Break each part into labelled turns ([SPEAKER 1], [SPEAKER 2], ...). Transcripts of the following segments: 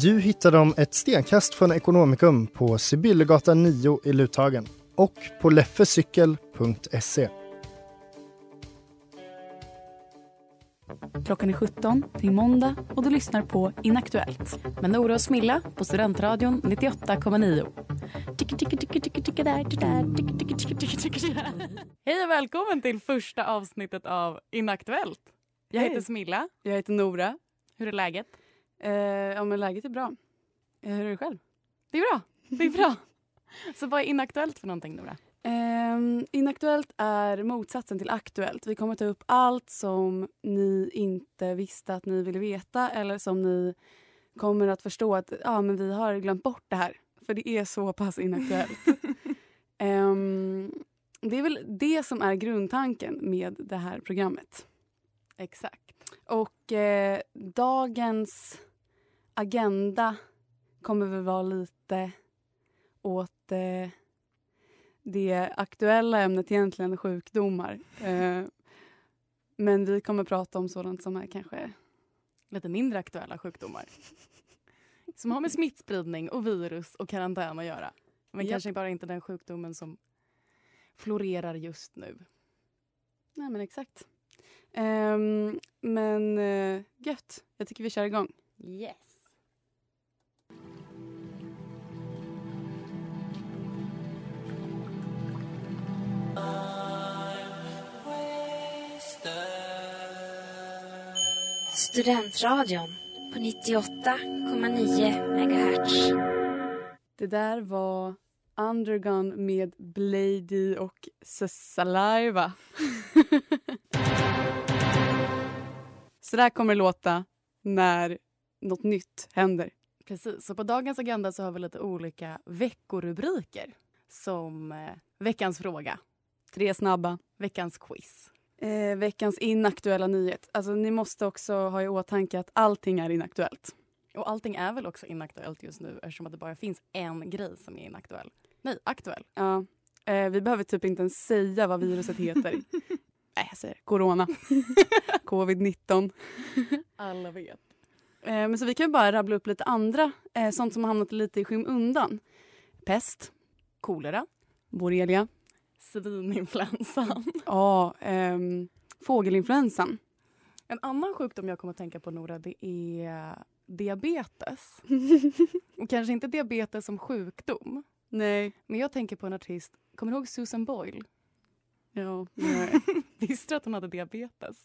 [SPEAKER 1] Du hittar dem ett stenkast från Ekonomikum på Sibyllegatan 9 i Luthagen och på leffecykel.se.
[SPEAKER 2] Klockan är 17, det är måndag och du lyssnar på Inaktuellt. Med Nora och Smilla på Studentradion 98,9. Tycker, tycker, tycker, tycker, tycker där, tycker där, tycker, tycker, tycker, tycker, tycker, tycker där. Hej och välkommen till första avsnittet av Inaktuellt. Jag
[SPEAKER 3] Hej.
[SPEAKER 2] heter Smilla.
[SPEAKER 3] Jag heter Nora.
[SPEAKER 2] Hur är läget?
[SPEAKER 3] Eh, ja, men läget är bra. Eh, hur är det själv?
[SPEAKER 2] Det är bra. Det är bra. Så vad är inaktuellt för någonting Nora?
[SPEAKER 3] Ehm, inaktuellt är motsatsen till aktuellt. Vi kommer ta upp allt som ni inte visste att ni ville veta eller som ni kommer att förstå att ja, men vi har glömt bort det här. För det är så pass inaktuellt. Ehm, det är väl det som är grundtanken med det här programmet.
[SPEAKER 2] Exakt.
[SPEAKER 3] Och eh, dagens agenda kommer väl vara lite åt eh, det aktuella ämnet egentligen, sjukdomar. Eh, men vi kommer prata om sådant som är kanske...
[SPEAKER 2] Lite mindre aktuella sjukdomar. Som har med smittspridning och virus och karantän att göra. Men
[SPEAKER 3] Japp.
[SPEAKER 2] kanske bara inte den sjukdomen som florerar just nu.
[SPEAKER 3] Nej, men exakt. Ehm, men eh, gött. Jag tycker vi kör igång.
[SPEAKER 2] Yes.
[SPEAKER 4] Studentradion på 98,9 MHz.
[SPEAKER 3] Det där var Undergun med Blady och Saliva. Så där kommer det låta när något nytt händer.
[SPEAKER 2] Precis, så på dagens agenda så har vi lite olika veckorubriker. Som eh, veckans fråga,
[SPEAKER 3] Tre snabba.
[SPEAKER 2] veckans quiz.
[SPEAKER 3] Eh, veckans inaktuella nyhet. Alltså, ni måste också ha i åtanke att allting är inaktuellt.
[SPEAKER 2] Och allting är väl också inaktuellt just nu eftersom att det bara finns en grej som är inaktuell. Nej, aktuell.
[SPEAKER 3] Ja. Eh, vi behöver typ inte ens säga vad viruset heter. Nej, jag säger corona. Covid-19.
[SPEAKER 2] Alla vet.
[SPEAKER 3] Eh, men så vi kan ju bara rabbla upp lite andra, eh, sånt som har hamnat lite i skymundan. Pest,
[SPEAKER 2] Kolera,
[SPEAKER 3] borrelia,
[SPEAKER 2] svininfluensan.
[SPEAKER 3] ja, ehm, fågelinfluensan.
[SPEAKER 2] En annan sjukdom jag kommer att tänka på, Nora, det är diabetes. Och kanske inte diabetes som sjukdom,
[SPEAKER 3] Nej.
[SPEAKER 2] men jag tänker på en artist. Kommer du ihåg Susan Boyle?
[SPEAKER 3] Ja, det gör jag.
[SPEAKER 2] Visste du att hon hade diabetes?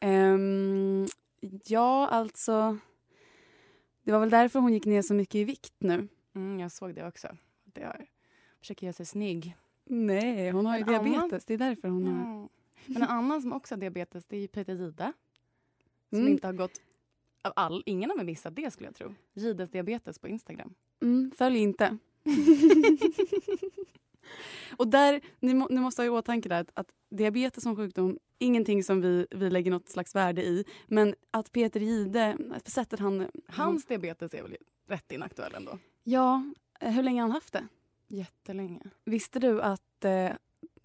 [SPEAKER 3] Ehm, ja, alltså. Det var väl därför hon gick ner så mycket i vikt nu.
[SPEAKER 2] Mm, jag såg det också. Det har... Försöker göra sig snygg.
[SPEAKER 3] Nej, hon har ju
[SPEAKER 2] En annan-
[SPEAKER 3] diabetes. Det är därför hon har...
[SPEAKER 2] Mm. Men en annan som också har diabetes det är ju Peter Jihde. Som
[SPEAKER 3] Mm.
[SPEAKER 2] inte har gått... Av all, ingen har väl missat det skulle jag tro. Jihdes diabetes på Instagram.
[SPEAKER 3] Mm, följ inte. Och där, ni, må, ni måste ha i åtanke där att, att diabetes som sjukdom, ingenting som vi, vi lägger något slags värde i. Men att Peter Jihde, att sättet han...
[SPEAKER 2] Hans diabetes är väl rätt inaktuell ändå.
[SPEAKER 3] Ja, eh, hur länge har han haft det?
[SPEAKER 2] Jättelänge.
[SPEAKER 3] Visste du att eh,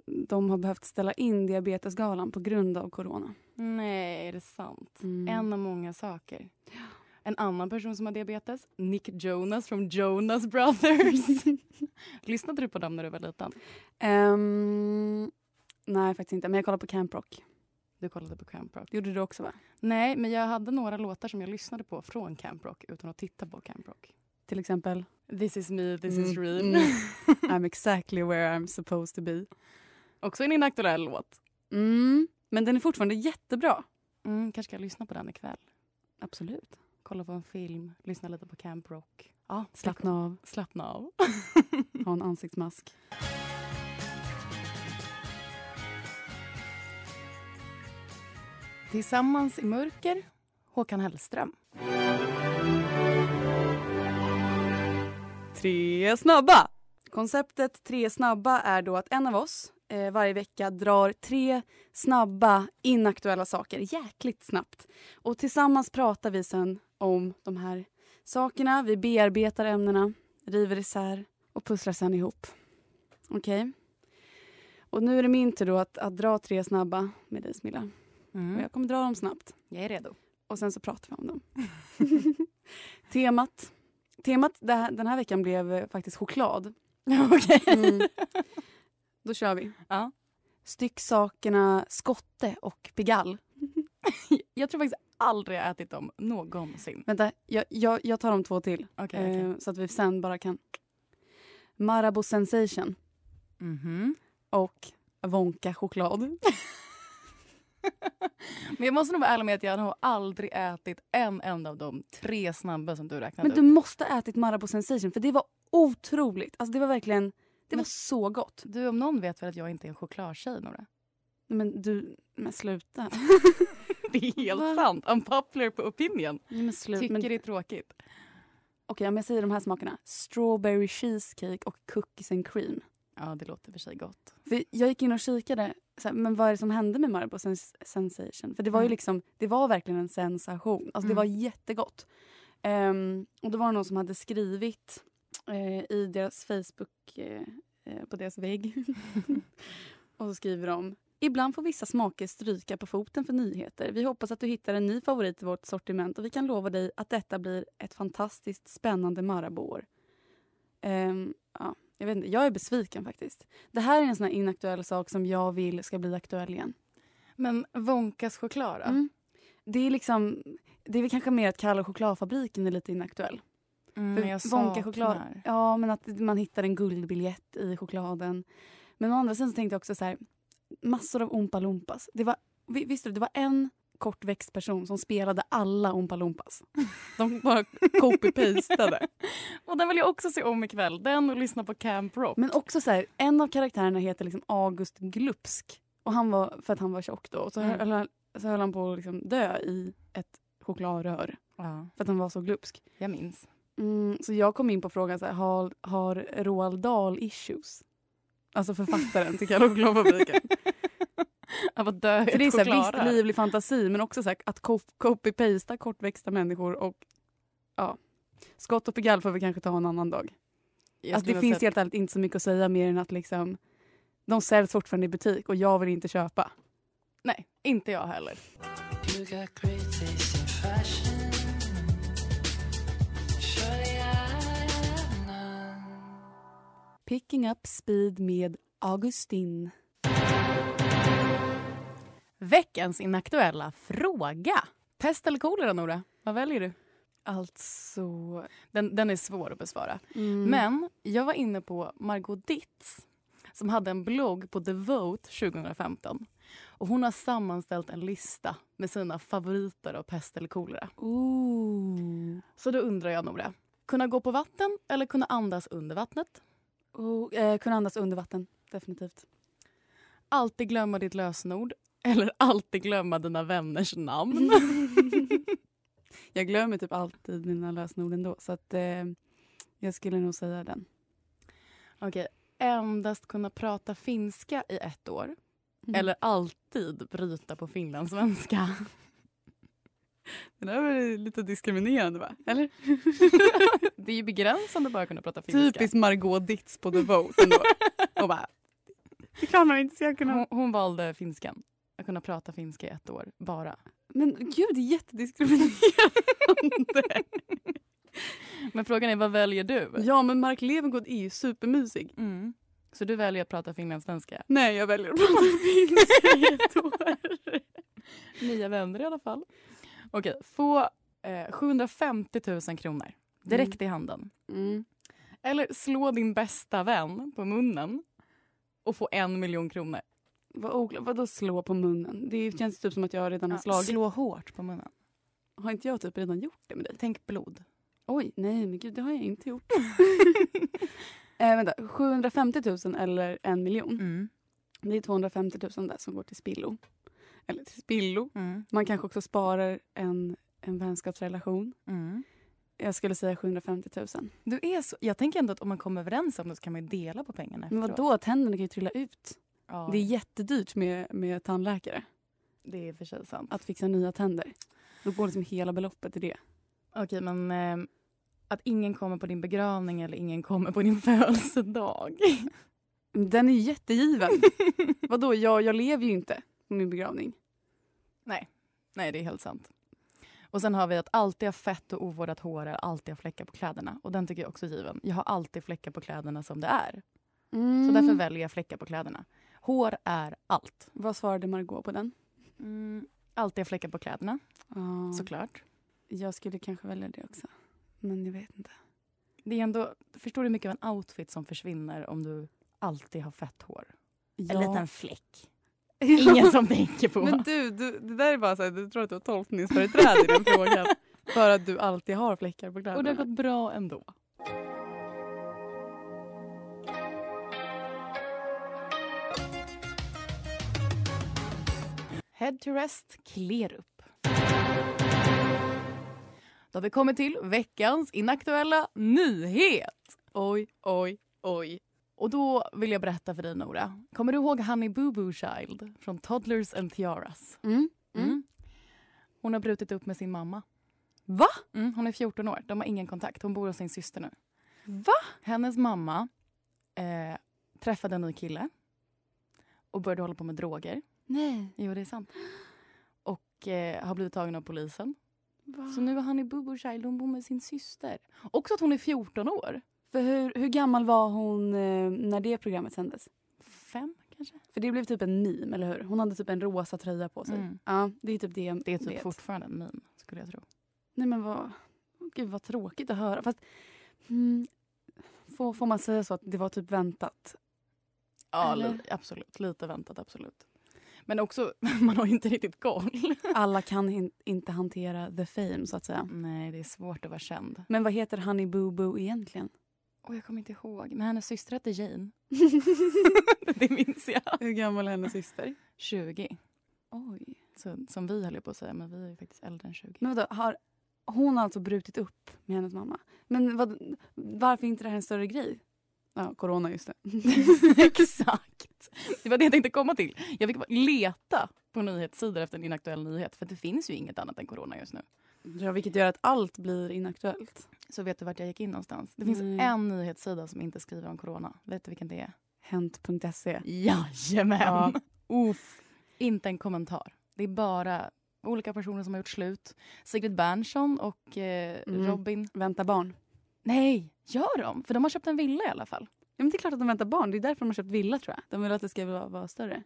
[SPEAKER 3] de har behövt ställa in diabetesgalan på grund av corona?
[SPEAKER 2] Nej, är det sant?
[SPEAKER 3] Mm.
[SPEAKER 2] En av många saker. En annan person som har diabetes, Nick Jonas från Jonas Brothers. Lyssnade du på dem när du var liten?
[SPEAKER 3] Ehm, nej, faktiskt inte. Men jag kollade på Camp Rock.
[SPEAKER 2] Du kollade på Camp Rock.
[SPEAKER 3] Det gjorde du också, va?
[SPEAKER 2] Nej, men jag hade några låtar som jag lyssnade på från Camp Rock utan att titta på Camp Rock.
[SPEAKER 3] till exempel. This is me, this is
[SPEAKER 2] Mm.
[SPEAKER 3] real.
[SPEAKER 2] Mm.
[SPEAKER 3] I'm exactly where I'm supposed to be. Också en inaktuell låt. Mm. Men den är fortfarande jättebra.
[SPEAKER 2] Mm, kanske ska jag lyssna på den ikväll. Absolut. Kolla på en film, lyssna lite på Camp Rock.
[SPEAKER 3] Ja, slappna av,
[SPEAKER 2] Slappna av.
[SPEAKER 3] ha en ansiktsmask.
[SPEAKER 2] Tillsammans i mörker, Håkan Hellström.
[SPEAKER 3] Tre snabba! Konceptet tre snabba är då att en av oss eh, varje vecka drar tre snabba inaktuella saker jäkligt snabbt. Och tillsammans pratar vi sen om de här sakerna. Vi bearbetar ämnena, river isär och pusslar sen ihop. Okej? Och nu är det min tur då att, att dra tre snabba med dig Smilla.
[SPEAKER 2] Mm.
[SPEAKER 3] Och jag kommer dra dem snabbt
[SPEAKER 2] Jag är redo.
[SPEAKER 3] och sen så pratar vi om dem. Temat. Temat det här- den här veckan blev eh, faktiskt choklad.
[SPEAKER 2] Okej.
[SPEAKER 3] Då kör vi.
[SPEAKER 2] Mm. Ja.
[SPEAKER 3] Stycksakerna skotte och pigall.
[SPEAKER 2] Jag tror faktiskt aldrig jag ätit dem någonsin.
[SPEAKER 3] Vänta, jag, jag, jag tar de två till.
[SPEAKER 2] Okej, okej.
[SPEAKER 3] Eh, så att vi sen bara kan... Marabou Sensation
[SPEAKER 2] Mhm.
[SPEAKER 3] och Wonka choklad.
[SPEAKER 2] Men jag måste nog vara ärlig med att jag har aldrig ätit en enda av de tre snabba som du räknade
[SPEAKER 3] Men du
[SPEAKER 2] upp.
[SPEAKER 3] måste ha ätit Marabou Sensation för det var otroligt. Alltså det var verkligen... Det var
[SPEAKER 2] Men-
[SPEAKER 3] så gott.
[SPEAKER 2] Du om någon vet väl att jag inte är en chokladtjej Nora?
[SPEAKER 3] Men du, men sluta.
[SPEAKER 2] Det är helt
[SPEAKER 3] Va?
[SPEAKER 2] sant. Unpopular på opinion.
[SPEAKER 3] Nej, men slut.
[SPEAKER 2] Tycker
[SPEAKER 3] men,
[SPEAKER 2] det är tråkigt.
[SPEAKER 3] Okej, om jag säger de här smakerna. Strawberry cheesecake och cookies and cream.
[SPEAKER 2] Ja, det låter för sig gott.
[SPEAKER 3] För jag gick in och kikade. Så här, men vad är det som hände med Marabou sens- sensation? För det var ju
[SPEAKER 2] Mm.
[SPEAKER 3] liksom, det var verkligen en sensation. Alltså det
[SPEAKER 2] Mm.
[SPEAKER 3] var jättegott. Ehm, och då var det någon som hade skrivit eh, i deras Facebook, eh, eh, på deras vägg. och så skriver de. Ibland får vissa smaker stryka på foten för nyheter. Vi hoppas att du hittar en ny favorit i vårt sortiment och vi kan lova dig att detta blir ett fantastiskt spännande Marabou-år. Ehm, ja, jag, vet inte, jag är besviken faktiskt. Det här är en sån här inaktuell sak som jag vill ska bli aktuell igen.
[SPEAKER 2] Men Wonkas choklad då?
[SPEAKER 3] Mm. Det är liksom... Det är väl kanske mer att Kalle och chokladfabriken är lite inaktuell.
[SPEAKER 2] Mm,
[SPEAKER 3] För
[SPEAKER 2] men jag
[SPEAKER 3] Wonka
[SPEAKER 2] saknar.
[SPEAKER 3] choklad- Ja, men att man hittar en guldbiljett i chokladen. Men å andra sidan så tänkte jag också så här, massor av Oompa Loompas. Det var, vi- visste du, det var en kortväxt person som spelade alla Oompa Loompas. De bara copy-pastade.
[SPEAKER 2] Och den vill jag också se om ikväll. Den och lyssna på Camp Rock.
[SPEAKER 3] Men också så här, en av karaktärerna heter liksom August Glupsk. Och han var, för att han var tjock då. Och så,
[SPEAKER 2] Mm.
[SPEAKER 3] höll, han- så höll han på att liksom dö i ett chokladrör.
[SPEAKER 2] Ja,
[SPEAKER 3] För att han var så glupsk.
[SPEAKER 2] jag minns.
[SPEAKER 3] Mm, så jag kom in på frågan, så här, har, har Roald Dahl issues? Alltså författaren till Kalle och chokladfabriken.
[SPEAKER 2] Av att dö i
[SPEAKER 3] För det är
[SPEAKER 2] ett
[SPEAKER 3] så här, visst
[SPEAKER 2] chokladrör.
[SPEAKER 3] livlig fantasi men också så här, att co- copy-pasta kortväxta människor och ja. Skott och pigall får vi kanske ta en annan dag.
[SPEAKER 2] Jag
[SPEAKER 3] Alltså, det
[SPEAKER 2] skulle vilja
[SPEAKER 3] finns
[SPEAKER 2] säga
[SPEAKER 3] helt ärligt inte så mycket att säga mer än att liksom, de säljs fortfarande i butik och jag vill inte köpa.
[SPEAKER 2] att- Nej, inte jag heller.
[SPEAKER 3] Picking up speed med Augustin.
[SPEAKER 2] Veckans inaktuella fråga. Pest eller kolera, Nora? Vad väljer du?
[SPEAKER 3] Alltså...
[SPEAKER 2] Den, den är svår att besvara.
[SPEAKER 3] Mm.
[SPEAKER 2] Men jag var inne på Margot Ditz som hade en blogg på The Vote 2015. Och hon har sammanställt en lista med sina favoriter av pest eller kolera.
[SPEAKER 3] Ooh.
[SPEAKER 2] Så då undrar jag, Nora. Kunna gå på vatten eller kunna andas under vattnet?
[SPEAKER 3] Ooh, eh, kunna andas under vatten, definitivt.
[SPEAKER 2] Alltid glömma ditt lösenord eller alltid glömma dina vänners namn?
[SPEAKER 3] Jag glömmer typ alltid mina lösenord ändå så att eh, jag skulle nog säga den.
[SPEAKER 2] Okej. Endast kunna prata finska i ett år
[SPEAKER 3] Mhm.
[SPEAKER 2] eller alltid bryta på finlandssvenska?
[SPEAKER 3] Det där var lite diskriminerande va? Eller?
[SPEAKER 2] Det är ju begränsande att bara kunna prata finska.
[SPEAKER 3] Typiskt Margot Ditz på The Vote ändå. Och bara, det kan man inte ska kunna.
[SPEAKER 2] Hon, hon valde finskan. Att kunna prata finska i ett år, bara.
[SPEAKER 3] Men gud, det är jättediskriminerande.
[SPEAKER 2] Men frågan är, vad väljer du?
[SPEAKER 3] ja, men Mark Levengood är ju supermysig.
[SPEAKER 2] Mm. Så du väljer att prata finlandssvenska?
[SPEAKER 3] Nej, jag väljer att prata finska i ett år.
[SPEAKER 2] Nya vänner i alla fall. Okej, få eh, 750 000 kronor direkt i handen.
[SPEAKER 3] Mm.
[SPEAKER 2] Eller slå din bästa vän på munnen och få en miljon kronor.
[SPEAKER 3] Vad oklart. Vadå slå på munnen? Det känns typ som att jag redan har slagit.
[SPEAKER 2] Slå hårt på munnen.
[SPEAKER 3] Har inte jag typ redan gjort det med dig?
[SPEAKER 2] Tänk blod.
[SPEAKER 3] Oj, nej men gud det har jag inte gjort. eh, vänta, 750 000 eller en miljon.
[SPEAKER 2] Mm.
[SPEAKER 3] Det är 250 000 där som går till spillo. Eller till spillo.
[SPEAKER 2] Mm.
[SPEAKER 3] Man kanske också sparar en, en vänskapsrelation.
[SPEAKER 2] Mm.
[SPEAKER 3] Jag skulle säga 750 000.
[SPEAKER 2] Du är så, jag tänker ändå att om man kommer överens om det så kan man ju dela på pengarna
[SPEAKER 3] Men
[SPEAKER 2] efteråt.
[SPEAKER 3] vadå, tänderna kan ju trilla ut.
[SPEAKER 2] Ja,
[SPEAKER 3] Det är jättedyrt med, med tandläkare.
[SPEAKER 2] det är för sig sant.
[SPEAKER 3] Att fixa nya tänder. Då går liksom hela beloppet till det.
[SPEAKER 2] Okej, men eh, att ingen kommer på din begravning eller ingen kommer på din födelsedag.
[SPEAKER 3] Men Den är ju jättegiven. vadå, jag, jag lever ju inte på min begravning.
[SPEAKER 2] Nej, det är helt sant. Och sen har vi att alltid ha fett och ovårdat hår eller alltid ha fläckar på kläderna. Och den tycker jag också är given. Jag har alltid fläckar på kläderna som det är. Så därför väljer jag fläckar på kläderna. Hår är allt.
[SPEAKER 3] Mm. Vad svarade Margot på den?
[SPEAKER 2] Alltid ha fläckar på kläderna,
[SPEAKER 3] Ja,
[SPEAKER 2] såklart.
[SPEAKER 3] jag skulle kanske välja det också. Men jag vet inte.
[SPEAKER 2] Det är ändå, förstår du hur mycket av en outfit som försvinner om du alltid har fett hår? En liten fläck. Ingen som tänker på.
[SPEAKER 3] Men du, du, det där är bara så här, du tror att du har tolkningsföreträde i den frågan. För att du alltid har fläckar på
[SPEAKER 2] Och det
[SPEAKER 3] kläderna.
[SPEAKER 2] har gått bra ändå. Head to rest, clear upp. Då har vi kommit till veckans inaktuella nyhet. Oj, oj, oj. Och då vill jag berätta för dig, Nora. Kommer du ihåg Honey Boo Boo Child från Toddlers and Tiaras?
[SPEAKER 3] Mm, mm.
[SPEAKER 2] Mm. Hon har brutit upp med sin mamma.
[SPEAKER 3] Va?
[SPEAKER 2] Mm, hon är 14 år. De har ingen kontakt. Hon bor hos sin syster nu.
[SPEAKER 3] Va?
[SPEAKER 2] Hennes mamma eh, träffade en ny kille och började hålla på med droger.
[SPEAKER 3] Nej.
[SPEAKER 2] Jo, det är sant. Och eh, har blivit tagen av polisen.
[SPEAKER 3] Va?
[SPEAKER 2] Så nu är han i Boo Boo Child. Hon bor med sin syster. Också att hon är 14 år.
[SPEAKER 3] För hur, hur gammal var hon eh, när det programmet sändes?
[SPEAKER 2] Fem, kanske?
[SPEAKER 3] För det blev typ en meme, eller hur? Hon hade typ en rosa tröja på sig.
[SPEAKER 2] Mm.
[SPEAKER 3] Ja, det är typ det.
[SPEAKER 2] Det är typ fortfarande en meme, skulle jag tro.
[SPEAKER 3] Nej men vad... Gud vad tråkigt att höra. Fast... Mm, får, får man säga så att det var typ väntat?
[SPEAKER 2] Ja,
[SPEAKER 3] Eller?
[SPEAKER 2] li- absolut. Lite väntat, absolut. Men också, man har ju inte riktigt koll.
[SPEAKER 3] Alla kan hin- inte hantera the fame så att säga.
[SPEAKER 2] Nej, det är svårt att vara känd.
[SPEAKER 3] Men vad heter Honey Boo Boo egentligen?
[SPEAKER 2] Och jag kommer inte ihåg. Men hennes syster hette Jane. det minns jag.
[SPEAKER 3] Hur gammal är hennes syster?
[SPEAKER 2] 20.
[SPEAKER 3] Oj.
[SPEAKER 2] Så, som vi höll ju på att säga, men vi är ju faktiskt äldre än 20.
[SPEAKER 3] Men vadå, har hon har alltså brutit upp med hennes mamma? Men vad, varför inte det här en större grej? Ja, corona just det.
[SPEAKER 2] Exakt! Det var det jag tänkte komma till. Jag fick bara leta på nyhetssidor efter en inaktuell nyhet. För det finns ju inget annat än corona just nu.
[SPEAKER 3] Ja, vilket gör att allt blir inaktuellt.
[SPEAKER 2] Så vet du vart jag gick in någonstans? Det finns
[SPEAKER 3] Nej.
[SPEAKER 2] en nyhetssida som inte skriver om corona. Vet du vilken det är?
[SPEAKER 3] Hänt.se.
[SPEAKER 2] Jajamän!
[SPEAKER 3] Ja. Uff.
[SPEAKER 2] Inte en kommentar. Det är bara olika personer som har gjort slut. Sigrid Bernson och eh,
[SPEAKER 3] Mm.
[SPEAKER 2] Robin
[SPEAKER 3] Vänta barn.
[SPEAKER 2] Nej, gör de? För de har köpt en villa i alla fall.
[SPEAKER 3] Ja, men det är klart att de väntar barn. Det är därför de har köpt villa tror jag. De vill att det ska vara, vara större.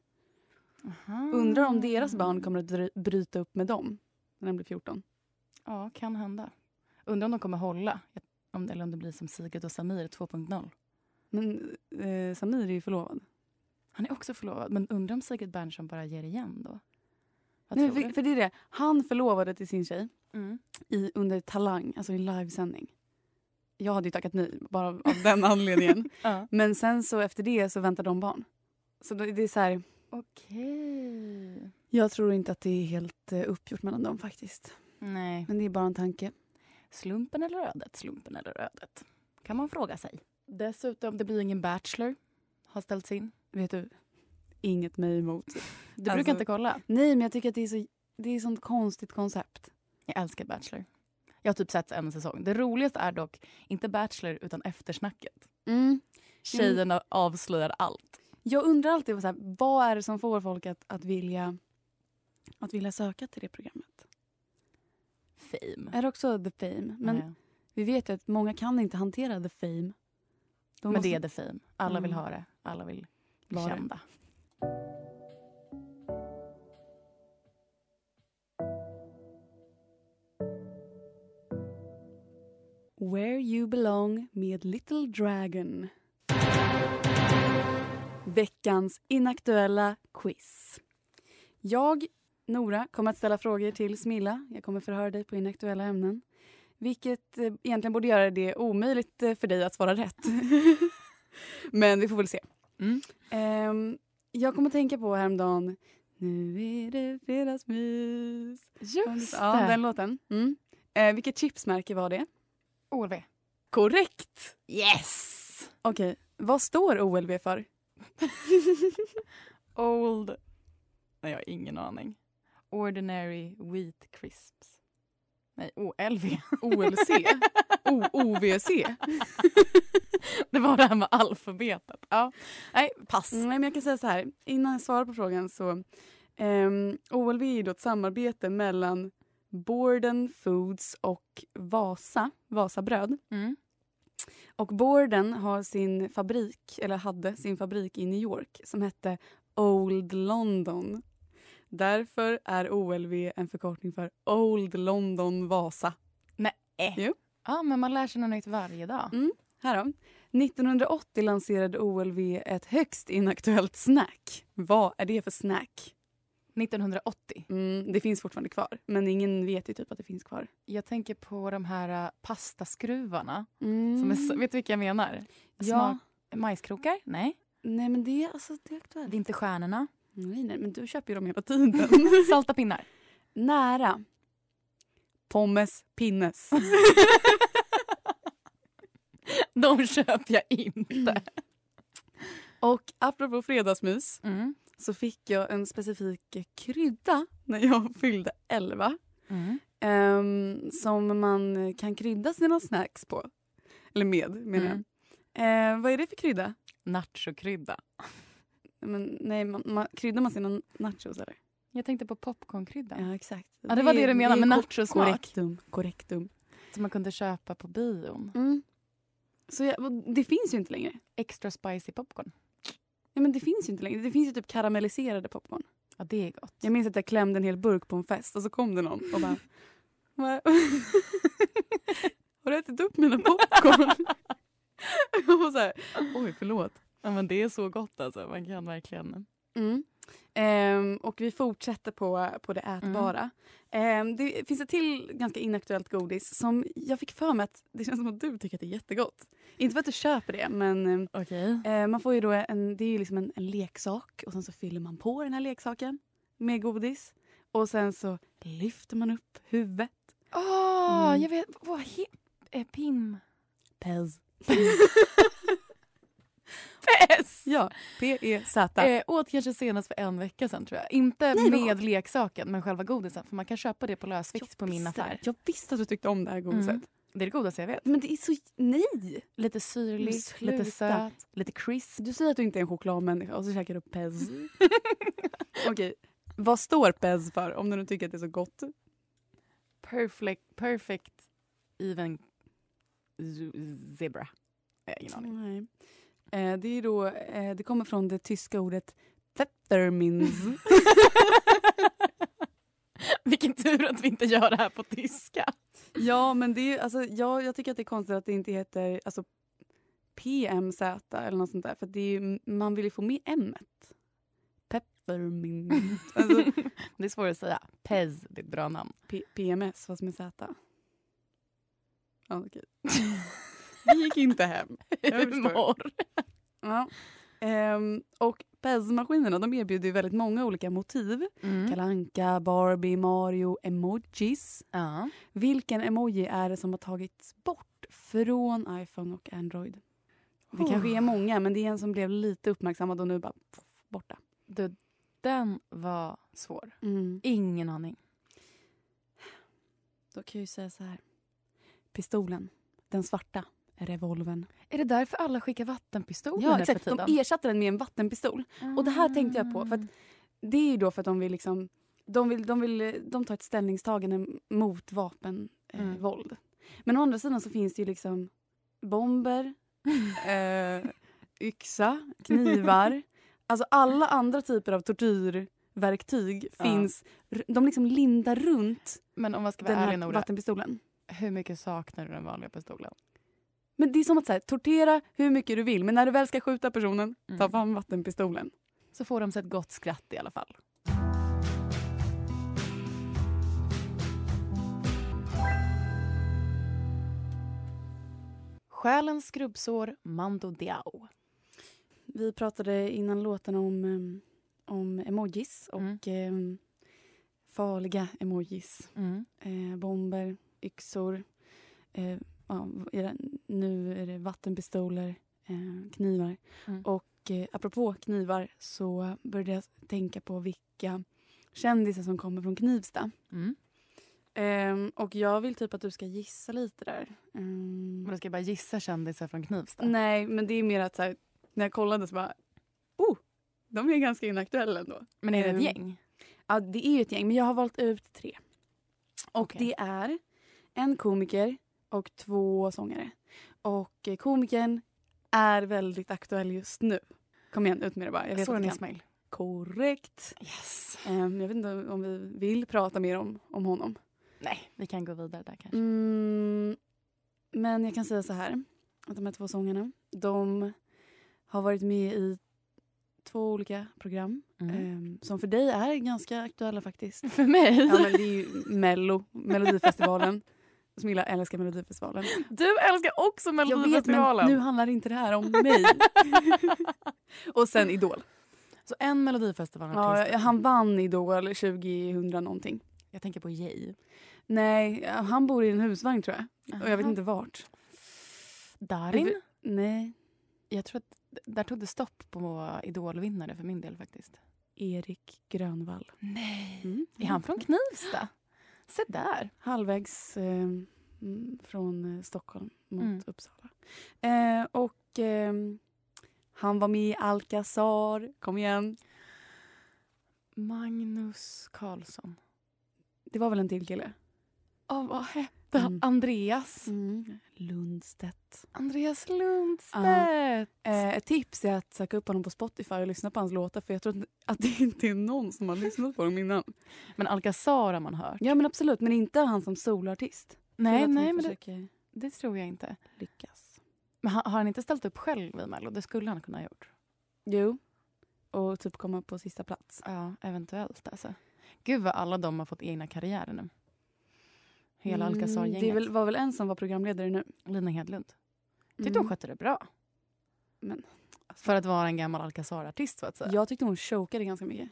[SPEAKER 3] Mm. Undrar om deras barn kommer att dry- bryta upp med dem när de blir 14.
[SPEAKER 2] Ja, kan hända. Undrar om de kommer hålla. Om, eller om det blir som Sigrid och Samir 2.0.
[SPEAKER 3] Men eh, Samir är ju förlovad.
[SPEAKER 2] Han är också förlovad, men undrar om Sigrid Bernson bara ger igen då? Vad
[SPEAKER 3] Nej,
[SPEAKER 2] tror
[SPEAKER 3] för,
[SPEAKER 2] du?
[SPEAKER 3] för det är det. Han förlovade till sin tjej
[SPEAKER 2] Mm.
[SPEAKER 3] i, under Talang, alltså i livesändning. Jag hade ju tackat nej bara av, av den anledningen.
[SPEAKER 2] Ja.
[SPEAKER 3] Men sen så efter det så väntar de barn. Så det, det är så här,
[SPEAKER 2] Okej.
[SPEAKER 3] jag tror inte att det är helt eh, uppgjort mellan dem faktiskt.
[SPEAKER 2] Nej.
[SPEAKER 3] Men det är bara en tanke.
[SPEAKER 2] Slumpen eller ödet? Slumpen eller ödet? Kan man fråga sig. Dessutom, det blir ingen Bachelor. Har ställts in.
[SPEAKER 3] Vet du, inget mig emot.
[SPEAKER 2] Du
[SPEAKER 3] Alltså-
[SPEAKER 2] brukar inte kolla?
[SPEAKER 3] Nej, men jag tycker att det är så det är sånt konstigt koncept.
[SPEAKER 2] Jag älskar Bachelor. Jag har typ sett en säsong. Det roligaste är dock inte Bachelor utan eftersnacket.
[SPEAKER 3] Mm.
[SPEAKER 2] Mm. Tjejerna avslöjar allt.
[SPEAKER 3] Jag undrar alltid så här, vad är det som får folk att, att, vilja, att vilja söka till det programmet.
[SPEAKER 2] Fame.
[SPEAKER 3] Är det också the fame? Men
[SPEAKER 2] Ja, ja.
[SPEAKER 3] vi vet ju att många kan inte hantera the fame. De
[SPEAKER 2] Men
[SPEAKER 3] måste-
[SPEAKER 2] det är the fame. Alla vill
[SPEAKER 3] Mm.
[SPEAKER 2] ha det. Alla vill bli
[SPEAKER 3] Vara.
[SPEAKER 2] kända.
[SPEAKER 3] Where You Belong med Little Dragon. Veckans inaktuella quiz. Jag, Nora, kommer att ställa frågor till Smilla. Jag kommer förhöra dig på inaktuella ämnen. Vilket eh, egentligen borde göra det omöjligt eh, för dig att svara rätt. Men vi får väl se.
[SPEAKER 2] Mm.
[SPEAKER 3] Ehm, jag kommer att tänka på häromdagen Nu är det fredagsmys.
[SPEAKER 2] Just
[SPEAKER 3] ja,
[SPEAKER 2] det.
[SPEAKER 3] den låten. Mm. Eh, vilket chipsmärke var det?
[SPEAKER 2] OLV.
[SPEAKER 3] Korrekt!
[SPEAKER 2] Yes!
[SPEAKER 3] Okej, vad står OLV för?
[SPEAKER 2] Old... Nej, jag har ingen aning. Ordinary Wheat Crisps. Nej, OLV.
[SPEAKER 3] OLC? O- OVC?
[SPEAKER 2] det var det här med alfabetet. Ja. Nej, pass.
[SPEAKER 3] Nej, men jag kan säga så här, innan jag svarar på frågan så ehm, OLV är ju då ett samarbete mellan Borden Foods och Vasa, Vasabröd.
[SPEAKER 2] Mm.
[SPEAKER 3] Och Borden har sin fabrik, eller hade sin fabrik i New York som hette Old London. Därför är OLV en förkortning för Old London Vasa.
[SPEAKER 2] Ja, men man lär sig något nytt varje dag.
[SPEAKER 3] Här då. 1980 lanserade OLV ett högst inaktuellt snack. Vad är det för snack?
[SPEAKER 2] 1980.
[SPEAKER 3] Mm, det finns fortfarande kvar, men ingen vet ju typ att det finns kvar.
[SPEAKER 2] Jag tänker på de här uh, pastaskruvarna.
[SPEAKER 3] Mm.
[SPEAKER 2] Som är, så- vet du vilka jag menar?
[SPEAKER 3] ja.
[SPEAKER 2] Majskrokar? Nej.
[SPEAKER 3] Nej, men det, är- alltså, det är aktuellt.
[SPEAKER 2] Det är inte stjärnorna.
[SPEAKER 3] Nej, nej, men du köper ju dem hela tiden.
[SPEAKER 2] Salta pinnar.
[SPEAKER 3] Nära. Pommes pinnes.
[SPEAKER 2] De köper jag inte.
[SPEAKER 3] Och apropå fredagsmys
[SPEAKER 2] Mm.
[SPEAKER 3] så fick jag en specifik krydda när jag fyllde 11.
[SPEAKER 2] Mm.
[SPEAKER 3] ehm, som man kan krydda sina snacks på. Eller med, menar
[SPEAKER 2] Mm.
[SPEAKER 3] jag. Eh, vad är det för krydda?
[SPEAKER 2] Nachokrydda.
[SPEAKER 3] Men, nej, man, man, kryddar man sina nachos eller?
[SPEAKER 2] Jag tänkte på popcornkrydda.
[SPEAKER 3] Ja, exakt.
[SPEAKER 2] Ja, det var det du menade med nachosmak.
[SPEAKER 3] Korrektum. korrektum.
[SPEAKER 2] Som man kunde köpa på bion.
[SPEAKER 3] Mm. Så jag, och det finns ju inte längre.
[SPEAKER 2] Extra spicy popcorn.
[SPEAKER 3] Ja, men det finns ju inte längre. Det finns ju typ karamelliserade popcorn.
[SPEAKER 2] Ja, det är gott.
[SPEAKER 3] Jag minns att jag klämde en hel burk på en fest och så kom det någon och bara... "Va? Har du ätit upp mina popcorn? Jag var så här, oj förlåt.
[SPEAKER 2] Ja, men det är så gott alltså. Man kan verkligen.
[SPEAKER 3] Mm. Ehm, och vi fortsätter på, på det
[SPEAKER 2] Mm.
[SPEAKER 3] ätbara. Ehm, det finns ett till ganska inaktuellt godis som jag fick för mig att det känns som att du tycker att det är jättegott. Inte för att du köper det men ehm,
[SPEAKER 2] Okej.
[SPEAKER 3] Eh, man får ju då en, det är ju liksom en, en leksak och sen så fyller man på den här leksaken med godis. Och sen så lyfter man upp huvudet.
[SPEAKER 2] Åh,
[SPEAKER 3] Mm.
[SPEAKER 2] jag vet. Vad he- eh, Pim?
[SPEAKER 3] Pez.
[SPEAKER 2] Pess!
[SPEAKER 3] Ja, P-E-Z.
[SPEAKER 2] Eh, åt kanske senast för en vecka sedan tror jag. Inte
[SPEAKER 3] Nej, men-
[SPEAKER 2] med leksaken men själva godisen för man kan köpa det på lösvikt på min
[SPEAKER 3] visste
[SPEAKER 2] affär.
[SPEAKER 3] det. Jag visste att du tyckte om det här godiset.
[SPEAKER 2] Mm. Det är det godaste jag vet.
[SPEAKER 3] Men det är så... Nej!
[SPEAKER 2] Lite syrlig,
[SPEAKER 3] Sluta.
[SPEAKER 2] lite söt, lite crisp. Mm.
[SPEAKER 3] Du säger att du inte är en chokladmänniska och så käkar du Pez. Okej. Vad står Pez för om du nu tycker att det är så gott?
[SPEAKER 2] Perfect, perfect even z- zebra. Jag har ingen aning.
[SPEAKER 3] Nej. Eh, det, är då, eh, det kommer från det tyska ordet Peppermins.
[SPEAKER 2] Mm. Vilken tur att vi inte gör det här på tyska.
[SPEAKER 3] Ja, men det är, ju- alltså, ja, jag tycker att det är konstigt att det inte heter alltså, PMZ eller något sånt där. För att det är ju, man vill ju få med M. -et. Peppermint. Alltså,
[SPEAKER 2] Det är svårt att säga. Pez, det är ett bra namn.
[SPEAKER 3] P- PMS, fast med Z. Ja, okej. Det gick inte hem. Jag förstår.
[SPEAKER 2] Humor.
[SPEAKER 3] Ja. Ehm, och PES-maskinerna de erbjuder ju väldigt många olika motiv.
[SPEAKER 2] Mm.
[SPEAKER 3] Kalle Anka, Barbie, Mario, emojis.
[SPEAKER 2] Ja.
[SPEAKER 3] Vilken emoji är det som har tagits bort från iPhone och Android? Det kanske är många, men det är en som blev lite uppmärksammad och nu bara pff, borta.
[SPEAKER 2] Du, den var svår.
[SPEAKER 3] Mm.
[SPEAKER 2] Ingen aning.
[SPEAKER 3] Då kan jag ju säga så här. Pistolen, den svarta, revolven.
[SPEAKER 2] Är det därför alla skickar vattenpistoler
[SPEAKER 3] Ja,
[SPEAKER 2] nu
[SPEAKER 3] exakt.
[SPEAKER 2] för tiden? Ah.
[SPEAKER 3] De ersatte den med en vattenpistol. Och det här tänkte jag på. För att det är ju då för att de vill liksom... De, vill, de, vill, de tar ett ställningstagande mot vapenvåld. Eh,
[SPEAKER 2] Mm.
[SPEAKER 3] våld. Men å andra sidan så finns det ju liksom bomber, eh, yxa, knivar. Alltså alla andra typer av tortyrverktyg
[SPEAKER 2] Ja.
[SPEAKER 3] finns. r- De liksom lindar runt
[SPEAKER 2] Men om man ska
[SPEAKER 3] den
[SPEAKER 2] vara
[SPEAKER 3] här
[SPEAKER 2] ärlig Nora,
[SPEAKER 3] vattenpistolen.
[SPEAKER 2] Hur mycket saknar du den vanliga pistolen?
[SPEAKER 3] Men det är som att så här, tortera hur mycket du vill men när du väl ska skjuta personen,
[SPEAKER 2] Mm.
[SPEAKER 3] ta fram vattenpistolen.
[SPEAKER 2] Så får de sig ett gott skratt i alla fall. Själens skrubbsår, Mando Diao.
[SPEAKER 3] Vi pratade innan låten om, em, om emojis
[SPEAKER 2] Mm.
[SPEAKER 3] och em, farliga emojis. Eh, bomber, yxor. Eh, ja, i den- nu är det vattenpistoler, eh, knivar.
[SPEAKER 2] Mm.
[SPEAKER 3] Och eh, apropå knivar så började jag tänka på vilka kändisar som kommer från Knivsta.
[SPEAKER 2] Mm.
[SPEAKER 3] Em, och jag vill typ att du ska gissa lite där. Ehm, Em,
[SPEAKER 2] Men då ska jag bara gissa kändisar från Knivsta.
[SPEAKER 3] nej, men det är mer att så här, när jag kollade så bara... Oh, de är ganska inaktuella ändå.
[SPEAKER 2] Men är det
[SPEAKER 3] Ehm,
[SPEAKER 2] ett gäng?
[SPEAKER 3] Ja, det är ju ett gäng, men jag har valt ut tre. Och
[SPEAKER 2] Okej.
[SPEAKER 3] det är en komiker och två sångare. Och eh, komikern är väldigt aktuell just nu. Kom igen, ut med det bara. Jag vet att
[SPEAKER 2] Soran
[SPEAKER 3] du kan.
[SPEAKER 2] Ismail.
[SPEAKER 3] Korrekt.
[SPEAKER 2] Yes.
[SPEAKER 3] Ehm, jag vet inte om vi vill prata mer om, om honom.
[SPEAKER 2] Nej, vi kan gå vidare där kanske.
[SPEAKER 3] Mm, men jag kan säga så här. Att de här två sångarna, de har varit med i två olika program. ehm, som för dig är ganska aktuella faktiskt.
[SPEAKER 2] Eh, För mig?
[SPEAKER 3] Ja, men det är ju Mello, Melodifestivalen. Smilla älskar Melodifestivalen.
[SPEAKER 2] Du älskar också Melodifestivalen.
[SPEAKER 3] Jag vet, men nu handlar inte det här om mig. och sen Idol.
[SPEAKER 2] Så en Melodifestivalartist.
[SPEAKER 3] Ja, han vann Idol 2000 någonting.
[SPEAKER 2] Jag tänker på Jay.
[SPEAKER 3] Nej, han bor i en husvagn tror jag. Och jag vet
[SPEAKER 2] Aha.
[SPEAKER 3] inte vart.
[SPEAKER 2] Darin.
[SPEAKER 3] Nej,
[SPEAKER 2] Jag tror att d- där tog det stopp på idolvinnare för min del faktiskt.
[SPEAKER 3] Erik Grönvall.
[SPEAKER 2] Nej.
[SPEAKER 3] Mm.
[SPEAKER 2] Är han från Knivsta? Se där.
[SPEAKER 3] Halvvägs eh, mm, från eh, Stockholm mot
[SPEAKER 2] Mm.
[SPEAKER 3] Uppsala. Eh, och ehm, han var med i Alcazar. Kom igen.
[SPEAKER 2] Magnus Karlsson.
[SPEAKER 3] Det var väl en till kille?
[SPEAKER 2] Åh, vad hette han?
[SPEAKER 3] Mm.
[SPEAKER 2] Andreas.
[SPEAKER 3] Lundstedt.
[SPEAKER 2] Andreas Lundstedt.
[SPEAKER 3] Eh, ett tips är att söka upp honom på Spotify och lyssna på hans låtar för jag tror att- att det inte är någon som har lyssnat på dem innan.
[SPEAKER 2] Men Alcazar har man hört.
[SPEAKER 3] Ja men absolut, men inte han som soloartist.
[SPEAKER 2] Nej,
[SPEAKER 3] Tror att han
[SPEAKER 2] nej, men det,
[SPEAKER 3] försöker
[SPEAKER 2] det tror jag inte.
[SPEAKER 3] lyckas.
[SPEAKER 2] Men har, har han inte ställt upp själv i Mello? Det skulle han kunna ha gjort.
[SPEAKER 3] Jo. Och typ komma på sista plats.
[SPEAKER 2] Ja, eventuellt alltså. Gud vad alla de har fått egna karriärer nu. Hela
[SPEAKER 3] Mm,
[SPEAKER 2] Alcazar-gänget.
[SPEAKER 3] Det är väl- var väl en som var programledare nu.
[SPEAKER 2] Lina Hedlund. Tyckte
[SPEAKER 3] Mm.
[SPEAKER 2] hon skötte det bra.
[SPEAKER 3] Men, alltså.
[SPEAKER 2] För att vara en gammal Alcazar-artist så att säga.
[SPEAKER 3] Jag tyckte hon chokade ganska mycket.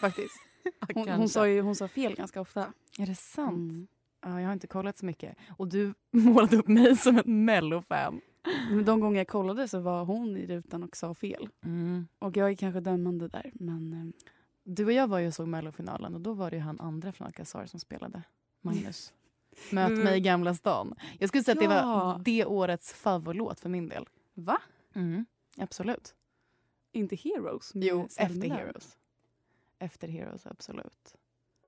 [SPEAKER 3] Faktiskt. Hon,
[SPEAKER 2] Kanske.
[SPEAKER 3] hon, sa ju, hon sa fel ganska ofta.
[SPEAKER 2] Är det sant?
[SPEAKER 3] Mm.
[SPEAKER 2] Ja, jag har inte kollat så mycket. Och du målade upp mig som ett mellofan.
[SPEAKER 3] Men de gånger jag kollade så var hon i rutan och sa fel.
[SPEAKER 2] Mm.
[SPEAKER 3] Och jag är kanske dömande där men eh,
[SPEAKER 2] Du och jag var ju och såg mellofinalen och då var det ju han andra från Alcazar som spelade. Magnus. Möt mig i Gamla stan. Jag skulle säga att det var
[SPEAKER 3] Ja.
[SPEAKER 2] det årets favoritlåt för min del.
[SPEAKER 3] Va?
[SPEAKER 2] Mm, absolut.
[SPEAKER 3] Inte Heroes? med
[SPEAKER 2] Jo,
[SPEAKER 3] Selma
[SPEAKER 2] efter
[SPEAKER 3] Lagerlöf.
[SPEAKER 2] Heroes. Efter Heroes, absolut.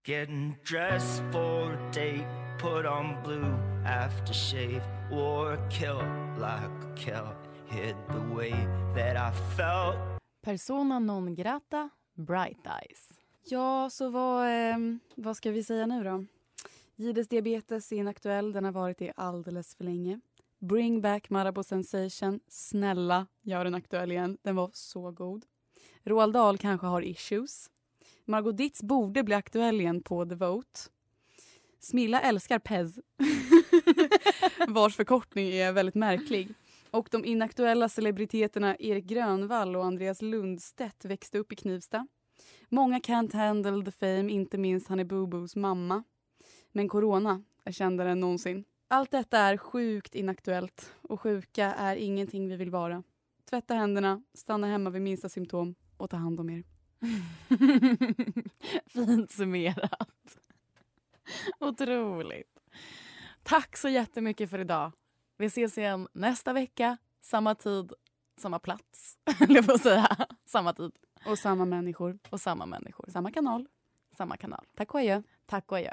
[SPEAKER 5] Getting dressed for a date, put on blue aftershave, wore a kilt like a kilt, hid the way that I felt.
[SPEAKER 2] Persona non grata, Bright Eyes.
[SPEAKER 3] Ja, så vad, ehm, vad ska vi säga nu då? Gides diabetes är inaktuell, den har varit det alldeles för länge. Bring back Marabou Sensation, snälla gör den aktuell igen, den var så god. Roald Dahl kanske har issues. Margot Ditz borde bli aktuell igen på The Vote. Smilla älskar Pez, vars förkortning är väldigt märklig. Och de inaktuella celebriteterna Erik Grönvall och Andreas Lundstedt växte upp i Knivsta. Många can't handle the fame, inte minst Honey Boo Boos mamma. Men corona är kändare än någonsin. Allt detta är sjukt inaktuellt och sjuka är ingenting vi vill vara. Tvätta händerna, stanna hemma vid minsta symptom och ta hand om er.
[SPEAKER 2] Fint summerat. Otroligt. Tack så jättemycket för idag. Vi ses igen nästa vecka. Samma tid, samma plats, höll jag på att säga. Samma tid
[SPEAKER 3] Och samma människor,
[SPEAKER 2] och samma människor.
[SPEAKER 3] samma kanal.
[SPEAKER 2] Samma kanal.
[SPEAKER 3] Tack och adjö.
[SPEAKER 2] Tack och adjö.